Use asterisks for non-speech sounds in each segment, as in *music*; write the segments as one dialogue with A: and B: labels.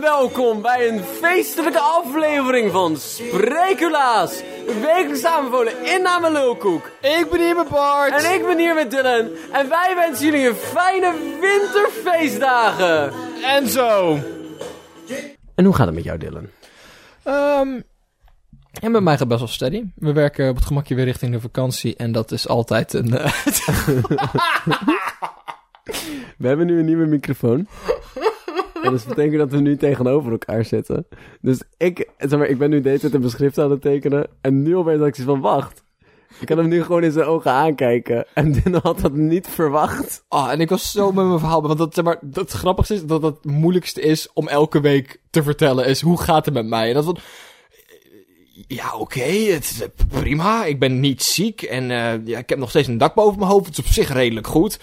A: welkom bij een feestelijke aflevering van Sprekulaas. Een wekelijks aanbevolen inname lulkoek.
B: Ik ben hier met Bart.
A: En ik ben hier met Dylan. En wij wensen jullie een fijne winterfeestdagen.
B: En zo.
A: En hoe gaat het met jou, Dylan?
B: Ehm, en bij mij gaat het best wel steady. We werken op het gemakje weer richting de vakantie. En dat is altijd een... eh,
A: We hebben nu een nieuwe *laughs* microfoon. En dat betekent dat we nu tegenover elkaar zitten. Dus ik, zeg maar, ik ben nu deze tijd een beschrift aan het tekenen. En nu alweer dat ik zoiets van, wacht. Ik kan hem nu gewoon in zijn ogen aankijken. En *laughs* Dylan had dat niet verwacht.
B: Ah, en ik was zo met mijn verhaal. Want dat, zeg maar, dat het grappigste is dat dat het moeilijkste is om elke week te vertellen. Is hoe gaat het met mij? En dat van... Ja, oké, het is eh, prima. Ik ben niet ziek en eh, ja, ik heb nog steeds een dak boven mijn hoofd. Het is op zich redelijk goed.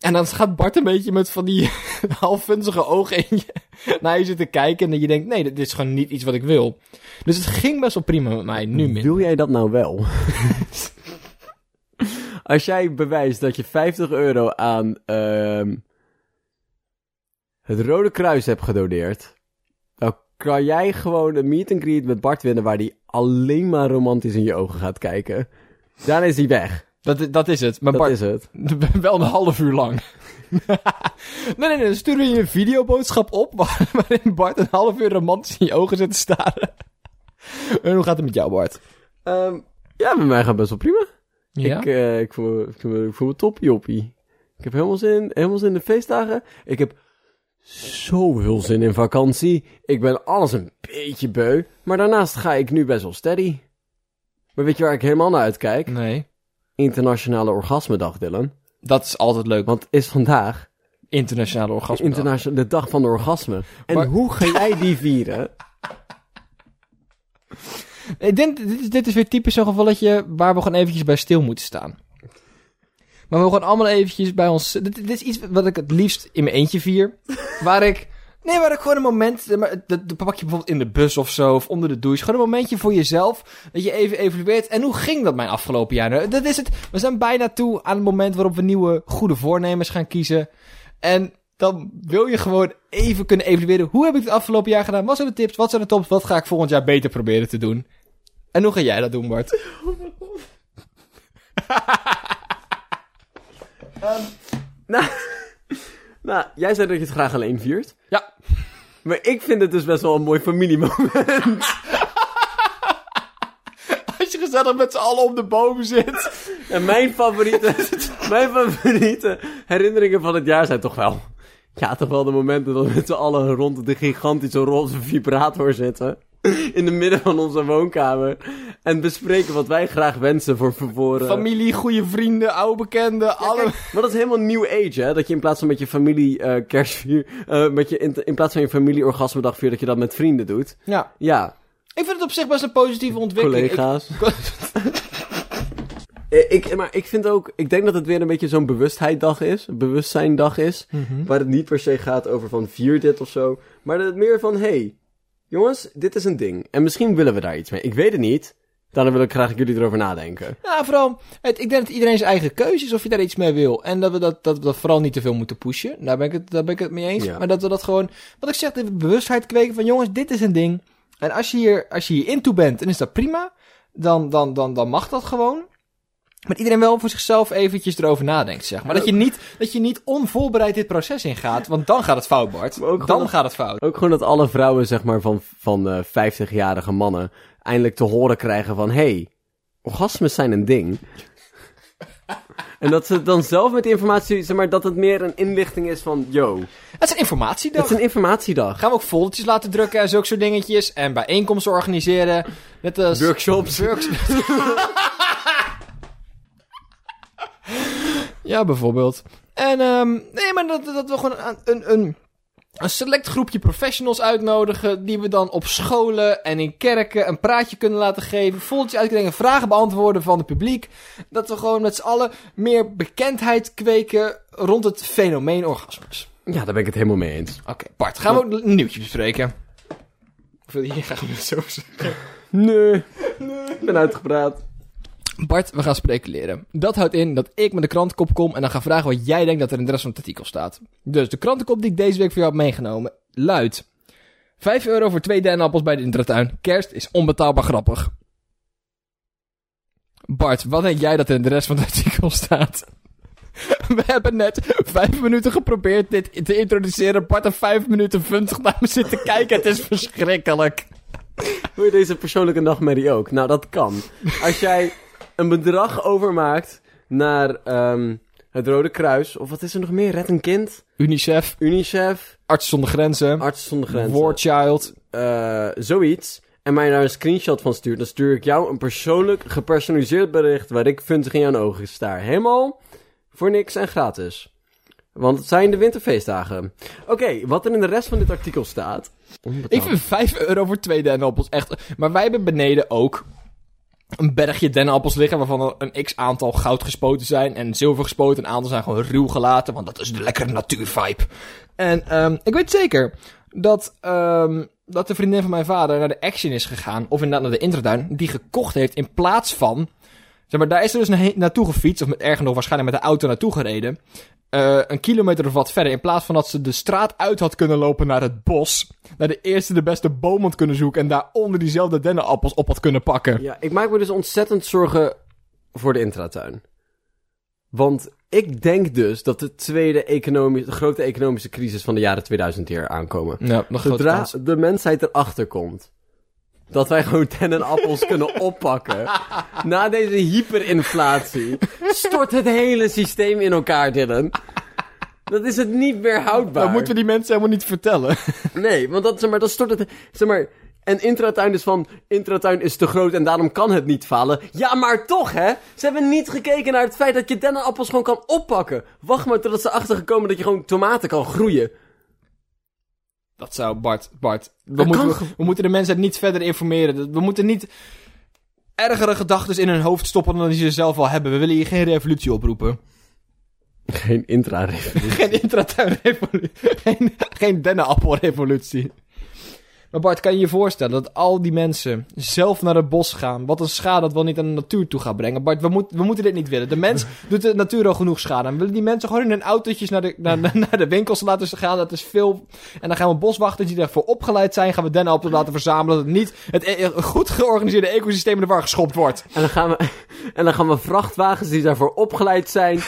B: En dan gaat Bart een beetje met van die *laughs* halfvunzige ogen in je naar je zitten kijken. En dat je denkt, nee, dit is gewoon niet iets wat ik wil. Dus het ging best wel prima met mij, nu minder.
A: Wil jij dat nou
B: *laughs*
A: wel? Als jij bewijst dat je 50 euro aan ehm, het Rode Kruis hebt gedoneerd, dan kan jij gewoon een meet and greet met Bart winnen waar die alleen maar romantisch in je ogen gaat kijken. Dan is hij weg.
B: Dat, dat is het. Maar
A: Dat
B: Bart,
A: is het.
B: *laughs* Wel een half uur lang. nee, nee, nee. Dan sturen we je een videoboodschap op. *laughs* waar- waarin Bart een half uur romantisch in je ogen zit te staren. en hoe gaat het met jou, Bart?
A: Ehm, ja, bij mij gaat best wel prima.
B: Ja.
A: Ik, eh, ik, voel, ik, voel, ik voel me top, joppie. Ik heb helemaal zin, helemaal zin in de feestdagen. Ik heb zoveel zin in vakantie. Ik ben alles een beetje beu. Maar daarnaast ga ik nu best wel steady. Maar weet je waar ik helemaal naar uitkijk?
B: Nee.
A: Internationale Orgasmedag, Dylan.
B: Dat is altijd leuk.
A: Want het is vandaag
B: Internationale orgasme.
A: internation- de dag van de orgasme. En
B: Maar-
A: hoe ga jij die vieren?
B: Ik denk, dit, is, dit is weer typisch zo'n gevalletje waar we gewoon eventjes bij stil moeten staan. Maar we gaan allemaal eventjes bij ons... Dit, dit is iets wat ik het liefst in mijn eentje vier. Waar ik... Nee, waar ik gewoon een moment... eh, maar Dat dat pak je bijvoorbeeld in de bus of zo, of onder de douche. Gewoon een momentje voor jezelf, dat je even evalueert. En hoe ging dat mijn afgelopen jaar? Nou, Dat is het. We zijn bijna toe aan het moment waarop we nieuwe goede voornemens gaan kiezen. En dan wil je gewoon even kunnen evalueren. Hoe heb ik het afgelopen jaar gedaan? Wat zijn de tips? Wat zijn de tops? Wat ga ik volgend jaar beter proberen te doen? En hoe ga jij dat doen, Bart?
A: *laughs* Nou, jij zei dat je het graag alleen viert.
B: *laughs* Ja.
A: Maar ik vind het dus best wel een mooi familiemoment.
B: Als je gezellig met z'n allen om de bomen zit.
A: En mijn favoriete, *laughs* mijn favoriete herinneringen van het jaar zijn toch wel... Ja, toch wel de momenten dat we met z'n allen rond de gigantische roze vibrator zitten. In de midden van onze woonkamer. En bespreken wat wij graag wensen voor vervoeren.
B: Familie, goede vrienden, oude bekenden, alle...
A: Maar dat is helemaal new age, hè? Dat je in plaats van met je familie eh kerstvier... eh, met je, in, in plaats van je familie orgasmedag viert, dat je dat met vrienden doet.
B: Ja.
A: Ja,
B: Ik vind het op zich best een positieve ontwikkeling. Ik-
A: collega's. Eh, Ik, maar ik vind ook, ik denk dat het weer een beetje zo'n bewustheiddag is, bewustzijndag is, waar het niet per se gaat over van vier dit of zo, maar dat het meer van, hey, jongens, dit is een ding en misschien willen we daar iets mee. Ik weet het niet, daarom wil ik graag dat jullie erover nadenken.
B: Ja, Nou, vooral, het, ik denk dat iedereen zijn eigen keuze is of je daar iets mee wil. En dat we dat, dat, we dat vooral niet te veel moeten pushen. Daar ben, ik het, daar ben ik het mee eens.
A: Ja.
B: Maar dat we dat gewoon, wat ik zeg, de bewustheid kweken van jongens, dit is een ding. En als je hier, als je hier into bent, dan is dat prima. Dan, dan, dan, dan mag dat gewoon. Maar iedereen wel voor zichzelf eventjes erover nadenkt, zeg maar. Dat je niet, dat je niet onvoorbereid dit proces ingaat, want dan gaat het fout, Bart.
A: Maar ook
B: Dan
A: gewoon-
B: gaat het fout.
A: Ook gewoon dat alle vrouwen, zeg maar, van, van eh, 50-jarige mannen eindelijk te horen krijgen van, hey, orgasmes zijn een ding. en dat ze dan zelf met die informatie, zeg maar, dat het meer een inlichting is van, yo,
B: Het is een informatiedag.
A: het is een informatiedag.
B: Gaan we ook foldertjes laten drukken en zulke soort dingetjes. En bijeenkomsten organiseren. Net als...
A: Workshops.
B: *laughs* ja, bijvoorbeeld. En ehm, nee, maar dat, dat we gewoon aan- een, een, een select groepje professionals uitnodigen. Die we dan op scholen en in kerken een praatje kunnen laten geven. Voltjes uitkrijgen, vragen beantwoorden van het publiek. Dat we gewoon met z'n allen meer bekendheid kweken rond het fenomeen orgasmes.
A: Ja, daar ben ik het helemaal mee eens.
B: Oké, Bart, gaan we ook een nieuwtje bespreken? Of wil je hier graag met zo zeggen?
A: Nee. *laughs* Ik ben uitgepraat.
B: Bart, we gaan speculeren. Dat houdt in dat ik met de krantenkop kom en dan ga vragen wat jij denkt dat er in de rest van het artikel staat. Dus de krantenkop die ik deze week voor jou heb meegenomen luidt: 5 euro voor twee dennenappels bij de intratuin. Kerst is onbetaalbaar grappig. Bart, wat denk jij dat er in de rest van het artikel staat? *laughs* We hebben net vijf minuten geprobeerd dit te introduceren. Bart heeft vijf minuten 20 naar me zitten kijken. Het is verschrikkelijk.
A: Wil je deze persoonlijke nachtmerrie ook? Nou, dat kan. Als jij een bedrag overmaakt naar ehm, het Rode Kruis, of wat is er nog meer? Red een Kind,
B: UNICEF,
A: UNICEF,
B: Artsen zonder grenzen,
A: Artsen zonder Grenzen,
B: War Child.
A: eh, zoiets, en mij daar een screenshot van stuurt, dan stuur ik jou een persoonlijk gepersonaliseerd bericht waar ik puntig in jouw ogen staar. Helemaal voor niks en gratis. Want het zijn de winterfeestdagen. Oké, wat er in de rest van dit artikel staat.
B: Ik vind 5 euro voor twee dennenappels echt. Maar wij hebben beneden ook een bergje dennenappels liggen. waarvan er een x aantal goud gespoten zijn en zilver gespoten. Een aantal zijn gewoon ruw gelaten, want dat is de lekkere natuurvibe. En ehm, ik weet zeker dat, ehm, dat de vriendin van mijn vader naar de Action is gegaan. of inderdaad naar de Intraduin, die gekocht heeft in plaats van. Zeg maar, daar is er dus nahe- naartoe gefietst, of met, erger nog waarschijnlijk met de auto naartoe gereden. eh, een kilometer of wat verder. In plaats van dat ze de straat uit had kunnen lopen naar het bos. Naar de eerste de beste boom had kunnen zoeken. En daaronder diezelfde dennenappels op had kunnen pakken.
A: Ja, ik maak me dus ontzettend zorgen voor de intratuin. Want ik denk dus dat de tweede economische, de grote economische crisis van de jaren 2000 hier aankomen.
B: Ja, nog
A: Zodra de mensheid erachter komt. Dat wij gewoon ten en appels *laughs* kunnen oppakken. Na deze hyperinflatie stort het hele systeem in elkaar, Dylan. Dat is het niet meer houdbaar.
B: Dat moeten we die mensen helemaal niet vertellen.
A: Nee, want dat, zeg maar, dat stort het... Zeg maar, en intratuin is van... Intratuin is te groot en daarom kan het niet falen. Ja, maar toch, hè? Ze hebben niet gekeken naar het feit dat je dennenappels gewoon kan oppakken. Wacht maar totdat ze achtergekomen dat je gewoon tomaten kan groeien.
B: Dat zou Bart, Bart. We
A: Dat
B: moeten,
A: kan
B: we, moeten de mensen niet verder informeren. Dat- We moeten niet ergere gedachten in hun hoofd stoppen dan die ze zelf al hebben. We willen hier geen revolutie oproepen.
A: Geen intra
B: Geen intratuinrevolutie. Geen, geen dennenappelrevolutie. Maar Bart, kan je je voorstellen dat al die mensen zelf naar het bos gaan? Wat een schade dat wel niet aan de natuur toe gaat brengen. Bart, we, moet- we moeten dit niet willen. De *laughs* mens doet de natuur al genoeg schade. En we willen die mensen gewoon in hun autootjes naar de, naar, naar- naar de winkels laten gaan. Dat is veel. En dan gaan we boswachters die daarvoor opgeleid zijn, gaan we dennenappels laten verzamelen. Dat niet het e- goed georganiseerde ecosysteem in de war geschopt wordt.
A: En dan gaan we, en dan gaan we vrachtwagens die daarvoor opgeleid zijn,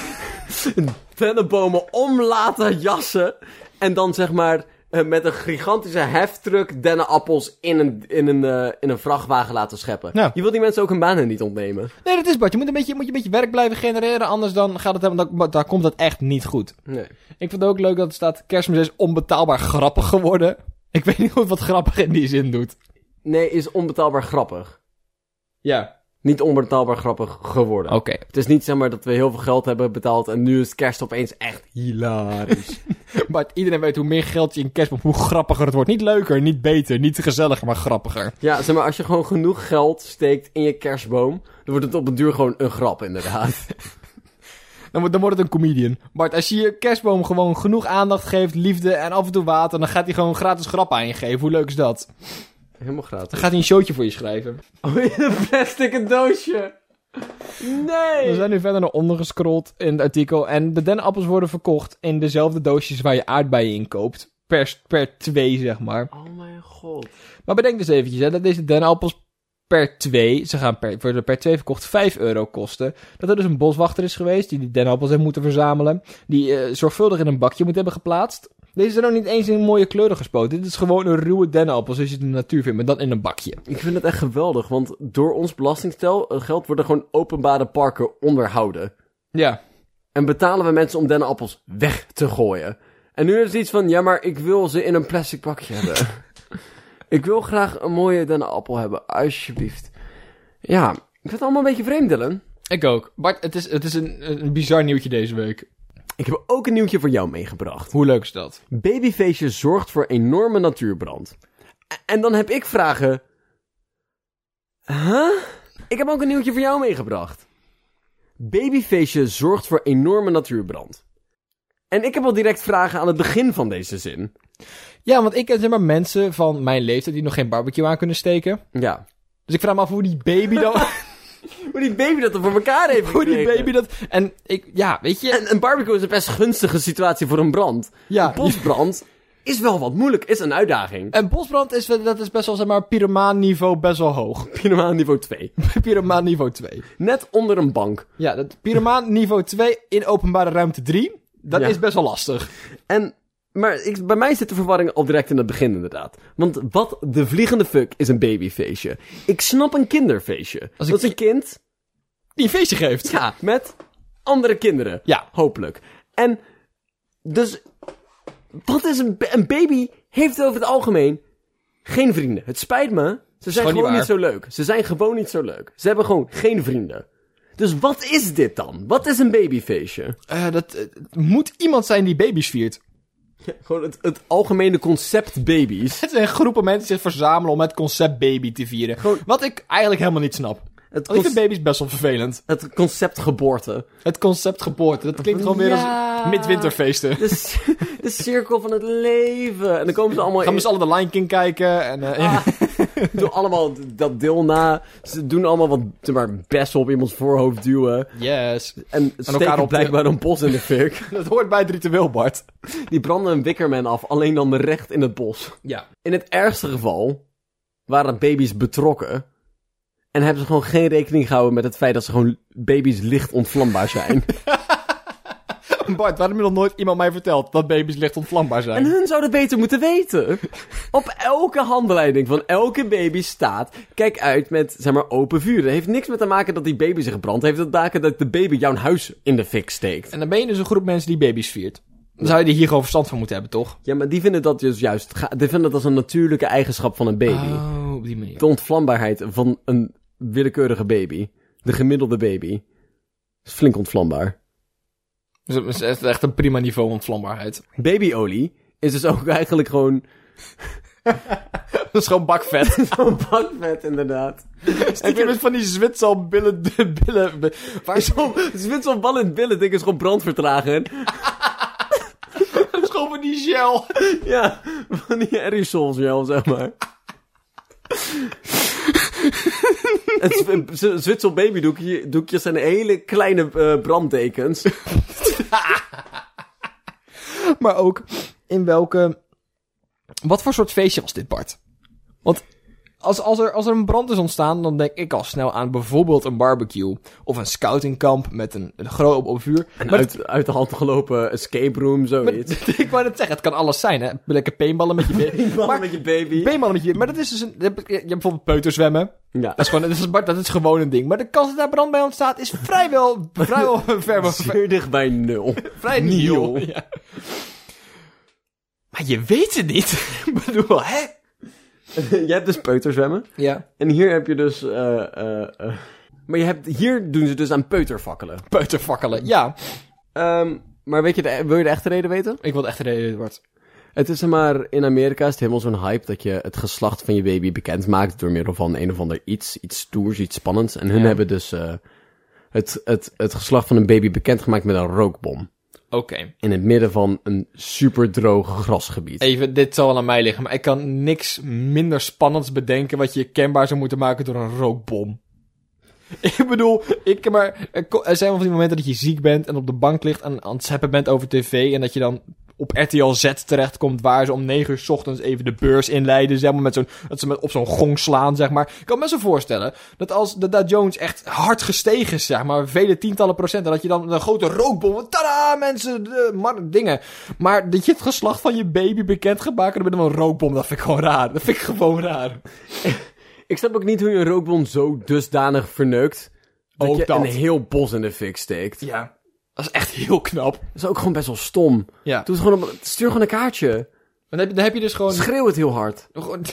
A: dennenbomen om laten jassen. En dan zeg maar eh, met een gigantische heftruck dennenappels in een, in een, eh, in een vrachtwagen laten scheppen.
B: Ja.
A: Je wil die mensen ook hun banen niet ontnemen.
B: Nee, dat is Bart. Je moet een beetje, moet je een beetje werk blijven genereren. Anders dan gaat het helemaal, dan, dan komt dat echt niet goed.
A: Nee.
B: Ik vond het ook leuk dat het staat... Kerstmis is onbetaalbaar grappig geworden. Ik weet niet goed wat grappig in die zin doet.
A: Nee, is onbetaalbaar grappig.
B: Ja.
A: Niet onbetaalbaar grappig geworden.
B: Oké.
A: Het is niet zeg maar dat we heel veel geld hebben betaald en nu is kerst opeens echt
B: *laughs*
A: hilarisch.
B: Bart, iedereen weet hoe meer geld je in kerst hebt, hoe grappiger het wordt. Niet leuker, niet beter, niet gezelliger, maar grappiger.
A: ja, zeg maar, als je gewoon genoeg geld steekt in je kerstboom, dan wordt het op een duur gewoon een grap inderdaad.
B: Dan, wordt- dan wordt het een comedian. Bart, als je je kerstboom gewoon genoeg aandacht geeft, liefde en af en toe water, dan gaat hij gewoon gratis grappen aan je geven. Hoe leuk is dat?
A: Helemaal
B: Dan
A: gratis.
B: gaat hij een showtje voor je schrijven.
A: Oh, in een plastic doosje.
B: We
A: Nee.
B: zijn nu verder naar onder gescrolld in het artikel. En de dennenappels worden verkocht in dezelfde doosjes waar je aardbeien in koopt. Per, per twee, zeg maar.
A: Oh mijn god.
B: Maar bedenk dus eventjes hè, dat deze dennenappels per twee, ze gaan per, worden per twee verkocht, 5 euro kosten. Dat er dus een boswachter is geweest die die dennenappels heeft moeten verzamelen. Die eh, zorgvuldig in een bakje moet hebben geplaatst. Deze zijn ook niet eens in mooie kleuren gespoten. Dit is gewoon een ruwe dennenappel zoals je het in de natuur vindt, maar dan in een bakje.
A: Ik vind het echt geweldig, want door ons belastingstel eh, geld worden gewoon openbare parken onderhouden.
B: Ja.
A: En betalen we mensen om dennenappels weg te gooien. En nu is het iets van, ja maar ik wil ze in een plastic bakje hebben. *laughs* ik wil graag een mooie dennenappel hebben, alsjeblieft. Ja, ik vind het allemaal een beetje vreemd, Dylan.
B: Ik ook. Bart, het is, het is een, een bizar nieuwtje deze week.
A: Ik heb ook een nieuwtje voor jou meegebracht.
B: Hoe leuk is dat?
A: Babyfeestje zorgt voor enorme natuurbrand. E- En dan heb ik vragen. Huh? Ik heb ook een nieuwtje voor jou meegebracht. Babyfeestje zorgt voor enorme natuurbrand. En ik heb al direct vragen aan het begin van deze zin.
B: Ja, want ik ken zeg maar mensen van mijn leeftijd die nog geen barbecue aan kunnen steken.
A: Ja.
B: Dus ik vraag me af hoe die baby
A: *laughs*
B: dan...
A: Hoe die baby dat er voor elkaar heeft
B: hoe die
A: gekregen.
B: baby dat... En ik... Ja, weet je...
A: En een barbecue is een best gunstige situatie voor een brand.
B: Ja,
A: Bosbrand is wel wat moeilijk, is een uitdaging.
B: En bosbrand is, wel- dat is best wel, zeg maar, pyromaan niveau best wel hoog. *laughs*
A: Pyromaan niveau 2.
B: pyromaan niveau 2.
A: Net onder een bank.
B: Ja, dat pyromaan niveau 2 in openbare ruimte 3. Dat
A: Ja.
B: is best wel lastig.
A: En, maar ik, bij mij zit de verwarring al direct in het begin inderdaad. Want wat de vliegende fuck is een babyfeestje? Ik snap een kinderfeestje.
B: Als ik-
A: Dat is een kind
B: Die een feestje geeft.
A: ja, met andere kinderen.
B: Ja.
A: Hopelijk. En dus, wat is een, ba- een baby heeft over het algemeen geen vrienden. Het spijt me, ze zijn
B: gewoon niet
A: gewoon niet
B: waar.
A: zo leuk. Ze zijn gewoon niet zo leuk. Ze hebben gewoon geen vrienden. Dus wat is dit dan? Wat is een babyfeestje?
B: Eh, dat eh, het moet iemand zijn die baby's viert.
A: Gewoon het, het algemene concept baby's.
B: Het zijn groepen mensen die zich verzamelen om het concept baby te vieren.
A: Gewoon-
B: Wat ik eigenlijk helemaal niet snap.
A: Het,
B: Want ik
A: conce-
B: vind baby's best wel vervelend.
A: het concept geboorte.
B: Het concept geboorte, dat klinkt gewoon weer
A: Ja.
B: als *laughs* midwinterfeesten.
A: De, c- *laughs* de cirkel van het leven. En dan komen ze allemaal
B: Gaan we
A: in,
B: eens alle de Lion King kijken en... eh, ja.
A: doen allemaal dat deel na. Ze doen allemaal wat zeg maar, best op iemands voorhoofd duwen.
B: Yes.
A: En steken
B: op de-
A: blijkbaar een bos in de fik.
B: *laughs* Dat hoort bij het ritueel, Bart.
A: Die branden een wikkerman af, alleen dan recht in het bos.
B: Ja.
A: In het ergste geval waren baby's betrokken. En hebben ze gewoon geen rekening gehouden met het feit dat ze gewoon baby's licht ontvlambaar zijn.
B: *laughs* Bart, waarom heeft nog nooit iemand mij verteld dat baby's licht ontvlambaar zijn?
A: En hun zouden beter moeten weten. Op elke handleiding van elke baby staat... Kijk uit met, zeg maar, open vuur. Het heeft niks met te maken dat die baby zich brandt. Het heeft te maken dat de baby jouw huis in de fik steekt.
B: En dan ben je dus een groep mensen die baby's viert. Dan zou je er hier gewoon verstand van moeten hebben, toch?
A: Ja, maar die vinden dat dus juist... ga- Die vinden dat als een natuurlijke eigenschap van een baby.
B: Oh, op die manier.
A: De ontvlambaarheid van een willekeurige baby. De gemiddelde baby. Is flink ontvlambaar.
B: Dus dat is echt- echt een prima niveau ontvlambaarheid. *laughs*
A: Babyolie is dus ook eigenlijk gewoon... *laughs*
B: Dat *laughs* is gewoon bakvet.
A: Zo'n bakvet, inderdaad.
B: Stiekem is van die zwitsal billen... de *laughs* billen waar is
A: Zo'n zwitsel bal in het billen, denk ik, is gewoon brandvertrager.
B: dat is gewoon van die gel?
A: Ja, van die aerosols wel, zeg maar. Het Zwi- Z- Zwitser babydoekje doekjes zijn hele kleine eh, brandtekens.
B: Maar ook in welke... Wat voor soort feestje was dit, Bart? Want als, als, er, als er een brand is ontstaan, dan denk ik al snel aan bijvoorbeeld een barbecue. Of een scoutingkamp met een, een groot op, op vuur.
A: En
B: Maar
A: uit, uit de hand gelopen escape room, zoiets.
B: het- *laughs* ik wou net zeggen, het kan alles zijn, hè? Lekker peenballen met je...
A: *laughs* Met,
B: maar-
A: met je baby.
B: Peenballen met je... Maar dat is dus een... Je hebt je hebt bijvoorbeeld peuterzwemmen.
A: ja.
B: Dat is gewoon, dat is, Bart, dat is gewoon een ding. Maar de kans dat daar brand bij ontstaat is vrijwel, vrijwel ver, ver,
A: Zeer dicht bij nul. *laughs*
B: vrij
A: nihil.
B: nihil. Ja. Maar je weet het niet. *laughs* Ik bedoel, hè?
A: je hebt dus peuterzwemmen.
B: Ja.
A: En hier heb je dus... eh, eh, eh. Maar je hebt, hier doen ze dus aan peutervakkelen.
B: Peuterfakkelen. Ja.
A: Ehm, maar weet je de, wil je de echte reden weten?
B: Ik wil het echt reden, Bart.
A: Het is zeg maar, in Amerika is het helemaal zo'n hype dat je het geslacht van je baby bekend maakt door middel van een of ander iets, iets stoers, iets spannends. En hun
B: Ja.
A: hebben dus eh, het, het, het geslacht van een baby bekendgemaakt met een rookbom.
B: Oké.
A: In het midden van een super droog grasgebied.
B: Even, dit zal wel aan mij liggen, maar ik kan niks minder spannends bedenken wat je kenbaar zou moeten maken door een rookbom. *laughs* Ik bedoel, ik kan maar, er ko- er zijn wel van die momenten dat je ziek bent en op de bank ligt en aan het zeppen bent over tv en dat je dan op RTL Z terechtkomt waar ze om 9 uur 's ochtends even de beurs inleiden, zeg maar, met zo'n, dat ze met, op zo'n gong slaan, zeg maar. Ik kan me zo voorstellen dat als de Dow Jones echt hard gestegen is, zeg maar, vele tientallen procenten, dat je dan een grote rookbom, tada, mensen, de, mar- dingen. Maar dat je het geslacht van je baby bekend gaat maken door middel van een rookbom, dat vind ik gewoon raar. Dat vind ik gewoon raar.
A: Ik snap ook niet hoe je een rookbom zo dusdanig verneukt dat
B: Ook
A: je
B: dat.
A: een heel bos in de fik steekt.
B: Ja. Dat is echt heel knap.
A: Dat is ook gewoon best wel stom.
B: Ja.
A: Doe het gewoon op, stuur gewoon een kaartje.
B: Dan heb, je- dan heb je dus gewoon...
A: Schreeuw het heel hard.
B: gewoon,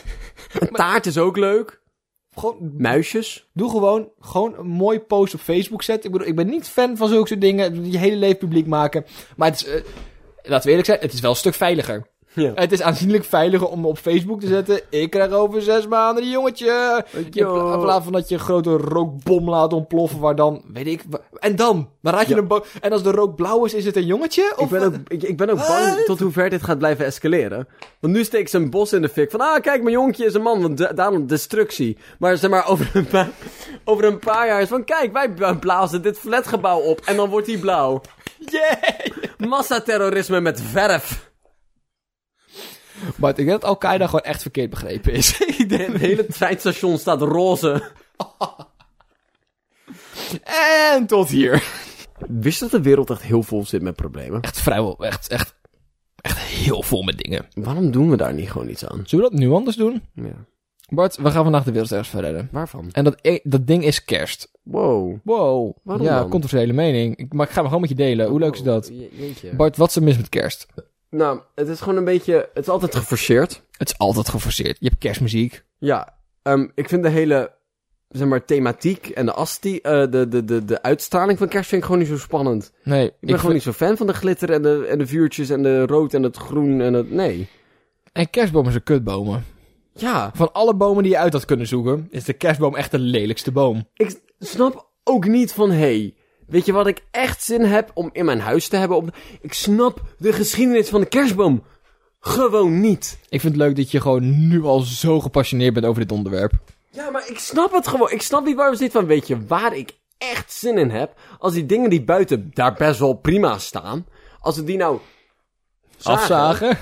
A: Een taart is ook leuk.
B: *laughs* gewoon-
A: Muisjes.
B: doe gewoon, gewoon een mooi post op Facebook zetten. Ik bedoel, ik ben niet fan van zulke soort dingen. Je hele leven publiek maken. Maar het is... eh, laten we eerlijk zijn, het is wel een stuk veiliger.
A: Ja.
B: Het is aanzienlijk veiliger om op Facebook te zetten... Ik krijg over zes maanden een jongetje. In pla- in plaats van dat je een grote rookbom laat ontploffen... waar dan, weet ik... wa- En dan? Dan raad je
A: Ja.
B: een bo- En als de rook blauw is, is het een jongetje? Of
A: Ik ben, ook, ik, ik ben ook bang
B: Wat?
A: tot hoe ver dit gaat blijven escaleren. Want nu steekt ze een bos in de fik. Van, ah, kijk, mijn jonkje is een man. Want da- daarom destructie. Maar zeg maar, over een, paar, over een paar jaar is van... Kijk, wij b- blazen dit flatgebouw op. En dan wordt hij blauw.
B: Yeah!
A: Massaterrorisme met verf.
B: Maar ik denk dat Al-Qaeda gewoon echt verkeerd begrepen is. *laughs* Ik denk-
A: Het hele treinstation staat roze.
B: en tot hier.
A: Wist dat de wereld echt heel vol zit met problemen?
B: Echt vrijwel, echt, echt, echt heel vol met dingen.
A: Waarom doen we daar niet gewoon iets aan?
B: Zullen we dat nu anders doen?
A: Ja.
B: Bart, we gaan vandaag de wereld ergens verredden.
A: Waarvan?
B: En dat, e- dat ding is kerst.
A: Wow.
B: Wow.
A: Waarom
B: ja,
A: dan? Oh,
B: controversiële mening. Ik, maar ik ga hem gewoon met je delen. Hoe leuk is dat?
A: Je- jeetje.
B: Bart, wat is er mis met kerst?
A: nou, het is gewoon een beetje... Het is altijd geforceerd.
B: Het is altijd geforceerd. Je hebt kerstmuziek.
A: Ja, ehm, ik vind de hele zeg maar, thematiek en de, asti, eh, de, de, de, de uitstraling van kerst vind ik gewoon niet zo spannend. Ik
B: Nee, ik
A: ben gewoon niet zo fan van de glitter en de, en de vuurtjes en de rood en het groen en het... Nee.
B: En kerstbomen zijn kutbomen.
A: Ja,
B: Van alle bomen die je uit had kunnen zoeken, is de kerstboom echt de lelijkste boom.
A: ik s- snap ook niet van... Hey, weet je wat ik echt zin heb om in mijn huis te hebben? Op... Ik snap de geschiedenis van de kerstboom gewoon niet.
B: Ik vind het leuk dat je gewoon nu al zo gepassioneerd bent over dit onderwerp.
A: Ja, maar ik snap het gewoon. Ik snap niet waarom ze dit van... Weet je waar ik echt zin in heb? Als die dingen die buiten daar best wel prima staan... Als we die nou... zagen-
B: Afzagen?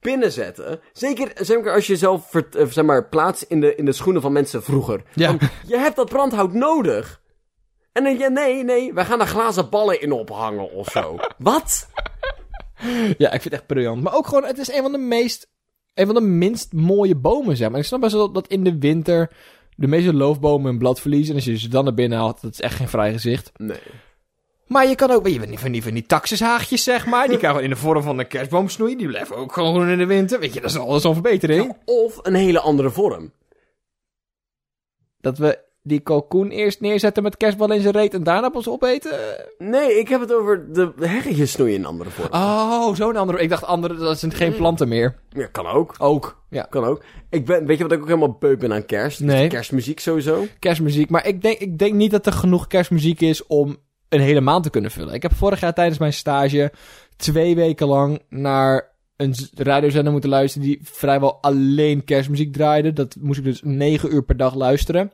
A: binnenzetten. Zeker, zeker als je jezelf vert- eh, zeg maar, plaatst in de, in de schoenen van mensen vroeger.
B: Ja.
A: Je hebt dat brandhout nodig. En dan, ja, nee, nee, wij gaan daar glazen ballen in ophangen of
B: *laughs*
A: zo. Wat?
B: ja, ik vind het echt briljant. Maar ook gewoon, het is een van de meest, een van de minst mooie bomen, zeg maar. Ik snap best wel dat in de winter de meeste loofbomen hun blad verliezen. En als je ze dan naar binnen haalt, dat is echt geen vrij gezicht.
A: Nee.
B: Maar je kan ook, je bent niet van die, van die taxishaagjes, zeg maar. Die kan je gewoon in de vorm van een kerstboom snoeien. Die blijven ook gewoon groen in de winter. Weet je, dat is al, dat is al een verbetering.
A: Of een hele andere vorm.
B: Dat we die kalkoen eerst neerzetten met kerstbal in zijn reet en daarna pas opeten?
A: Nee, ik heb het over de heggetjes snoeien in een andere vorm.
B: Oh, zo'n andere. Ik dacht andere, dat zijn geen planten meer.
A: Ja, kan ook.
B: Ook. Ja,
A: Kan ook. Ik ben, weet je wat ik ook helemaal beu ben aan kerst?
B: Nee.
A: Kerstmuziek sowieso.
B: kerstmuziek. Maar ik denk, ik denk niet dat er genoeg kerstmuziek is om een hele maand te kunnen vullen. Ik heb vorig jaar tijdens mijn stage twee weken lang naar een z- radiozender moeten luisteren die vrijwel alleen kerstmuziek draaide. Dat moest ik dus negen uur per dag luisteren.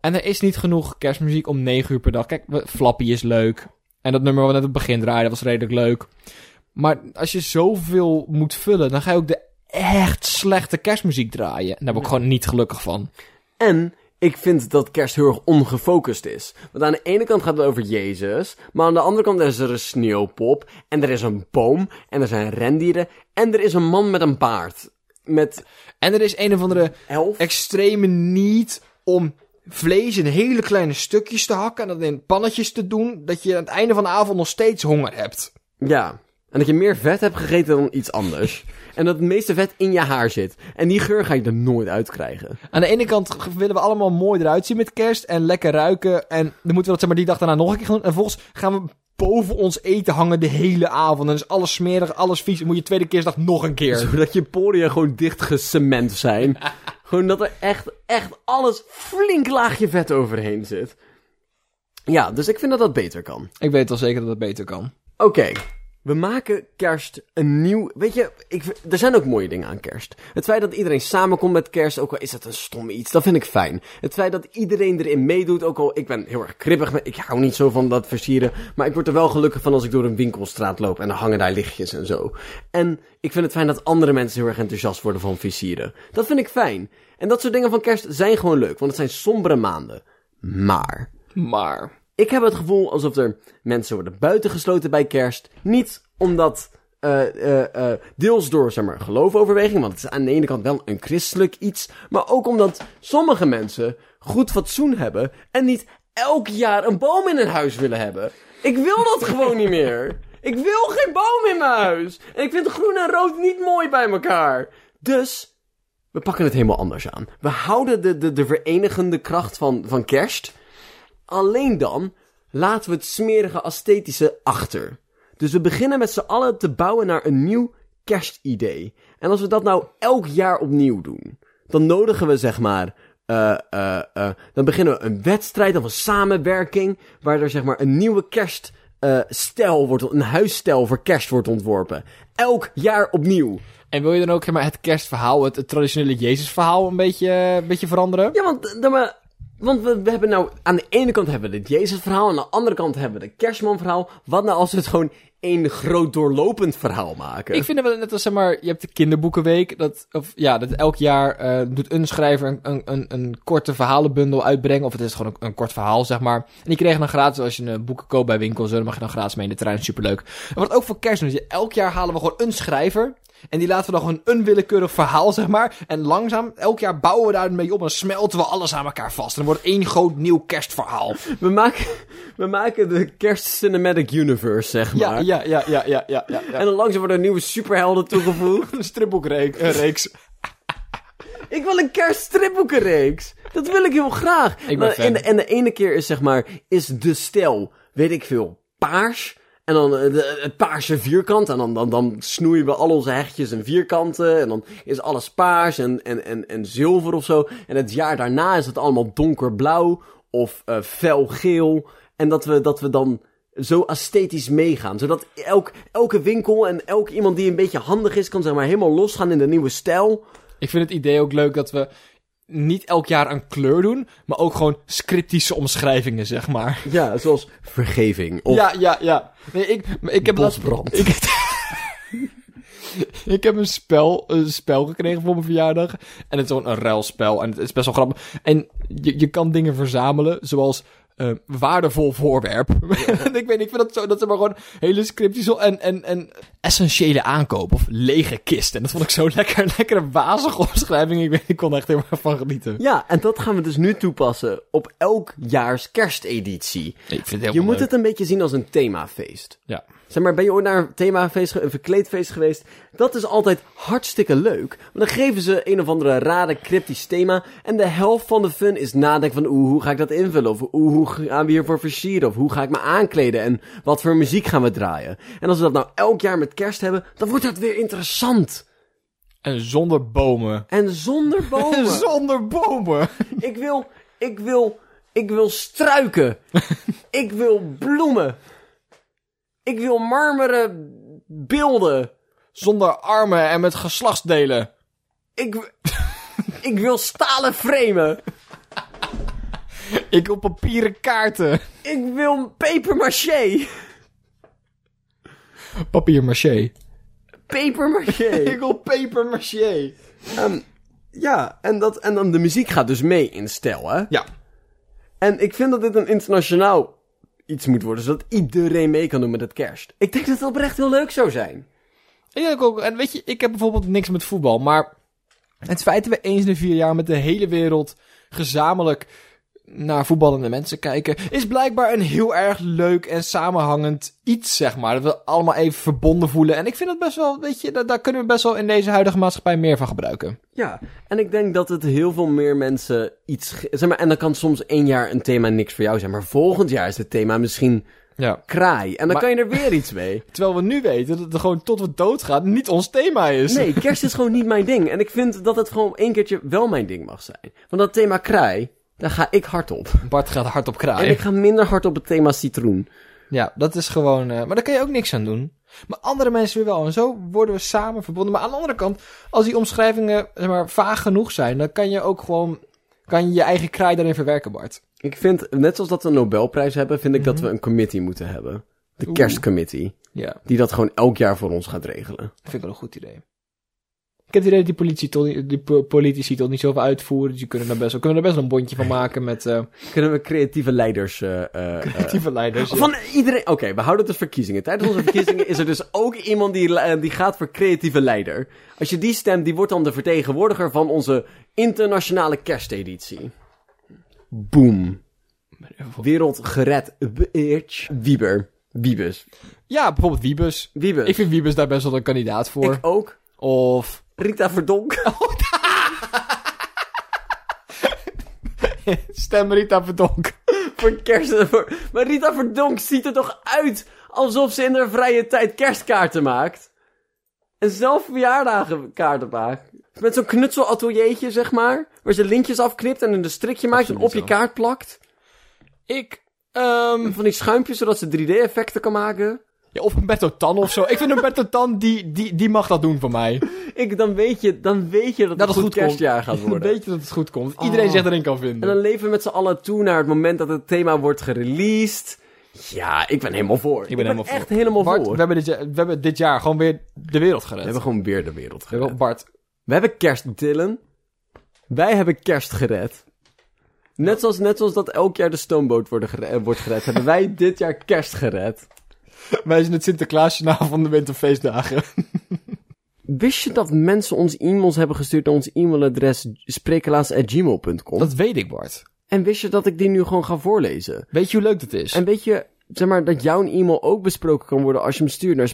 B: En er is niet genoeg kerstmuziek om negen uur per dag. Kijk, we- Flappy is leuk. En dat nummer wat we net op het begin draaiden was redelijk leuk. Maar als je zoveel moet vullen, dan ga je ook de echt slechte kerstmuziek draaien. En daar ben ik gewoon niet gelukkig van.
A: En ik vind dat kerst heel erg ongefocust is. Want aan de ene kant gaat het over Jezus, maar aan de andere kant is er een sneeuwpop, en er is een boom, en er zijn rendieren, en er is een man met een paard. Met
B: En er is een of andere
A: elf.
B: extreme niet om vlees in hele kleine stukjes te hakken en dat in pannetjes te doen, dat je aan het einde van de avond nog steeds honger hebt.
A: Ja. En dat je meer vet hebt gegeten dan iets anders. en dat het meeste vet in je haar zit. En die geur ga je er nooit uit krijgen.
B: Aan de ene kant g- willen we allemaal mooi eruit zien met kerst en lekker ruiken en dan moeten we dat zeg maar die dag daarna nog een keer gaan doen. En volgens gaan we boven ons eten hangen de hele avond. En is alles smerig, alles vies. En moet je tweede kerstdag nog een keer.
A: Zodat je poriën gewoon dicht gecement zijn. gewoon dat er echt, echt alles flink laagje vet overheen zit. Ja, dus ik vind dat dat beter kan.
B: Ik weet wel zeker dat het beter kan.
A: Oké, we maken kerst een nieuw... Weet je, ik, v- er zijn ook mooie dingen aan kerst. Het feit dat iedereen samenkomt met kerst, ook al is dat een stom iets, dat vind ik fijn. Het feit dat iedereen erin meedoet, ook al ik ben heel erg kribbig, maar ik hou niet zo van dat versieren. Maar ik word er wel gelukkig van als ik door een winkelstraat loop en er hangen daar lichtjes en zo. En ik vind het fijn dat andere mensen heel erg enthousiast worden van versieren. Dat vind ik fijn. En dat soort dingen van kerst zijn gewoon leuk, want het zijn sombere maanden. Maar...
B: Maar.
A: Ik heb het gevoel alsof er mensen worden buitengesloten bij kerst. Niet omdat. eh, eh, eh, deels door zeg maar, geloofoverweging, want het is aan de ene kant wel een christelijk iets. Maar ook omdat sommige mensen goed fatsoen hebben. en niet elk jaar een boom in hun huis willen hebben. Ik wil dat gewoon niet meer. Ik wil geen boom in mijn huis. En ik vind groen en rood niet mooi bij elkaar. Dus we pakken het helemaal anders aan. We houden de, de, de verenigende kracht van, van kerst. Alleen dan laten we het smerige esthetische achter. Dus we beginnen met z'n allen te bouwen naar een nieuw kerstidee. En als we dat nou elk jaar opnieuw doen, dan nodigen we zeg maar. eh, eh, eh, dan beginnen we een wedstrijd of een samenwerking. Waar er zeg maar een nieuwe kerststijl wordt, een huisstijl voor kerst wordt ontworpen. Elk jaar opnieuw.
B: En wil je dan ook zeg maar, het kerstverhaal, het, het traditionele Jezusverhaal een eh, beetje, een beetje veranderen?
A: Ja, want eh, dan maar, Want we, we hebben nou... Aan de ene kant hebben we het Jezus-verhaal... aan de andere kant hebben we het Kerstman-verhaal. Wat nou als we het gewoon één groot doorlopend verhaal maken?
B: Ik vind het wel net als, zeg maar, je hebt de kinderboekenweek. Dat, of, ja, dat elk jaar eh, doet een schrijver een, een, een, een korte verhalenbundel uitbrengen. Of het is gewoon een, een kort verhaal, zeg maar. En die krijgen dan gratis, als je een boeken koopt bij winkels, dan mag je dan gratis mee in de trein. Superleuk. En wat ook voor kerst doen, is je- elk jaar halen we gewoon een schrijver. En die laten we dan gewoon een willekeurig verhaal, zeg maar. En langzaam, elk jaar bouwen we daar een beetje op. En dan smelten we alles aan elkaar vast. En dan wordt het één groot nieuw kerstverhaal.
A: We, maken, *laughs* we maken de Kerst-Cinematic Universe, zeg maar.
B: Ja, ja, ja, ja, ja, ja. ja, ja.
A: En dan langzaam worden er nieuwe superhelden toegevoegd.
B: *laughs* een stripboekreeks.
A: Ik wil een kerststripboekenreeks. Dat wil ik heel graag.
B: ben
A: Maar-
B: fan.
A: en, en de ene keer is zeg maar, is de stijl, weet ik veel, paars. En dan eh, de- het paarse vierkant. En dan, dan, dan snoeien we al onze hechtjes en vierkanten. En dan is alles paars en, en, en, en zilver of zo. En het jaar daarna is het allemaal donkerblauw of eh felgeel. En dat we, dat we dan zo esthetisch meegaan. Zodat elk, elke winkel en elk iemand die een beetje handig is... kan zeg maar helemaal losgaan in de nieuwe stijl.
B: Ik vind het idee ook leuk dat we niet elk jaar een kleur doen, maar ook gewoon scriptische omschrijvingen, zeg maar.
A: Ja, zoals vergeving of
B: Ja, ja, ja. Nee, ik, maar ik heb laatst-
A: bosbrand.
B: *laughs* Ik, ik heb een spel, een spel gekregen voor mijn verjaardag. En het is gewoon een ruilspel. En het is best wel grappig. En je, je kan dingen verzamelen, zoals eh, waardevol voorwerp. *laughs* En ik weet niet, ik vind dat zo, dat ze maar gewoon hele scriptische en, en, en essentiële aankoop. Of lege kist. En dat vond ik zo lekker, lekkere wazige omschrijving. Ik, weet, ik kon er echt heel erg van genieten.
A: Ja, en dat gaan we dus nu toepassen op elk jaars kersteditie.
B: Ik vind het
A: Je moet het een beetje zien als een themafeest.
B: Ja.
A: Zeg maar, ben je ooit naar een themafeest, ge- een verkleedfeest geweest? Dat is altijd hartstikke leuk. Maar dan geven ze een of andere rare cryptisch thema. En de helft van de fun is nadenken van, oeh, hoe ga ik dat invullen? Of oeh, hoe gaan we hiervoor versieren? Of hoe ga ik me aankleden? En wat voor muziek gaan we draaien? En als we dat nou elk jaar met kerst hebben, dan wordt dat weer interessant.
B: En zonder bomen.
A: En *laughs* zonder bomen.
B: Zonder bomen.
A: Ik wil, ik wil, ik wil *laughs* struiken. ik wil bloemen. Ik wil marmeren beelden.
B: Zonder armen en met geslachtsdelen.
A: Ik, *laughs* w- ik wil stalen framen.
B: Ik wil papieren kaarten.
A: Ik wil papermaché.
B: Papier maché.
A: Papermaché.
B: Ik wil paper maché.
A: *laughs* ja, en, dat, en dan de muziek gaat dus mee in stijl, hè?
B: Ja.
A: En ik vind dat dit een internationaal iets moet worden, zodat iedereen mee kan doen met het kerst. Ik denk dat het oprecht heel leuk zou zijn.
B: Ik denk ook, en weet je, ik heb bijvoorbeeld niks met voetbal, maar het feit dat we eens in de vier jaar met de hele wereld gezamenlijk naar voetballende mensen kijken, is blijkbaar een heel erg leuk en samenhangend iets, zeg maar. Dat we allemaal even verbonden voelen. En ik vind dat best wel, weet je, daar, daar kunnen we best wel in deze huidige maatschappij meer van gebruiken.
A: Ja, en ik denk dat het heel veel meer mensen iets. ge- Zeg maar, en dan kan soms één jaar een thema niks voor jou zijn, maar volgend jaar is het thema misschien
B: Ja.
A: kraai. En dan
B: Maar-
A: kan je er weer iets *laughs* mee.
B: Terwijl we nu weten dat het gewoon tot we doodgaan niet ons thema is.
A: Nee, kerst is gewoon niet mijn ding. En ik vind dat het gewoon één keertje wel mijn ding mag zijn. Want dat thema kraai, daar ga ik hard op.
B: Bart gaat hard op
A: En
B: kraaien.
A: ik ga minder hard op het thema citroen.
B: Ja, dat is gewoon... eh, maar daar kan je ook niks aan doen. Maar andere mensen weer wel. En zo worden we samen verbonden. Maar aan de andere kant, als die omschrijvingen zeg maar, vaag genoeg zijn... dan kan je ook gewoon... kan je je eigen kraai daarin verwerken, Bart.
A: Ik vind, net zoals dat we een Nobelprijs hebben, vind ik dat we een committee moeten hebben. De
B: Oeh.
A: kerstcommittee.
B: Ja,
A: Die dat gewoon elk jaar voor ons gaat regelen.
B: dat vind ik wel een goed idee. Ik heb het idee dat die, politie toch niet- die po- politici toch niet zoveel uitvoeren. Dus die kunnen daar best, wel- kunnen er best wel een bondje van maken met... eh
A: Kunnen we creatieve leiders eh, eh, eh,
B: creatieve leiders. ja.
A: Van iedereen. Oké, we houden het dus verkiezingen. Tijdens onze verkiezingen is er dus ook iemand die, le- die gaat voor creatieve leider. Als je die stemt, die wordt dan de vertegenwoordiger van onze internationale kersteditie. Boom. Wereld gered. Bitch. Wieber. Wiebes.
B: Ja, bijvoorbeeld Wiebus.
A: Wiebes.
B: Ik vind Wiebus daar best wel een kandidaat voor.
A: Ik ook.
B: Of...
A: Rita Verdonk.
B: Stem Rita Verdonk.
A: voor kerst. voor- Maar Rita Verdonk ziet er toch uit alsof ze in haar vrije tijd kerstkaarten maakt. En zelf verjaardagenkaarten maakt. Met zo'n knutselatelier, zeg maar. Waar ze lintjes afknipt en een strikje maakt en
B: Absoluut
A: op je
B: zo.
A: kaart plakt.
B: Ik, ehm
A: Van die schuimpjes, zodat ze 3D-effecten kan maken.
B: Ja, of Humberto Tan of zo. Ik vind Humberto Tan, die, die, die mag dat doen voor mij.
A: Ik, dan, weet je, dan weet je dat, het een goed kerstjaar
B: *laughs*
A: gaat
B: Dan
A: worden.
B: weet je dat het goed komt. Iedereen
A: Oh.
B: zich erin kan
A: En
B: vinden.
A: dan leven we met z'n allen toe naar het moment dat het thema wordt gereleased. Ja, ik ben helemaal voor. Ik
B: helemaal voor.
A: echt helemaal
B: Bart,
A: voor.
B: we hebben, dit jaar, we hebben dit jaar gewoon weer de wereld gered.
A: We hebben gewoon weer de wereld
B: We hebben-
A: gered.
B: Bart,
A: We hebben kerst, Dylan. Wij hebben kerst gered. Net zoals, net zoals dat elk jaar de stoomboot worden gere- eh, wordt gered, hebben wij *laughs* dit jaar kerst gered.
B: wij zijn het Sinterklaasjournaal van de winterfeestdagen.
A: Wist je dat mensen ons e-mails hebben gestuurd naar ons e-mailadres sprekelaars.gmail.com?
B: *laughs* Dat weet ik, Bart.
A: En wist je dat ik die nu gewoon ga voorlezen?
B: Weet je hoe leuk dat is?
A: En weet je, zeg maar, dat jouw e-mail ook besproken kan worden als je hem stuurt naar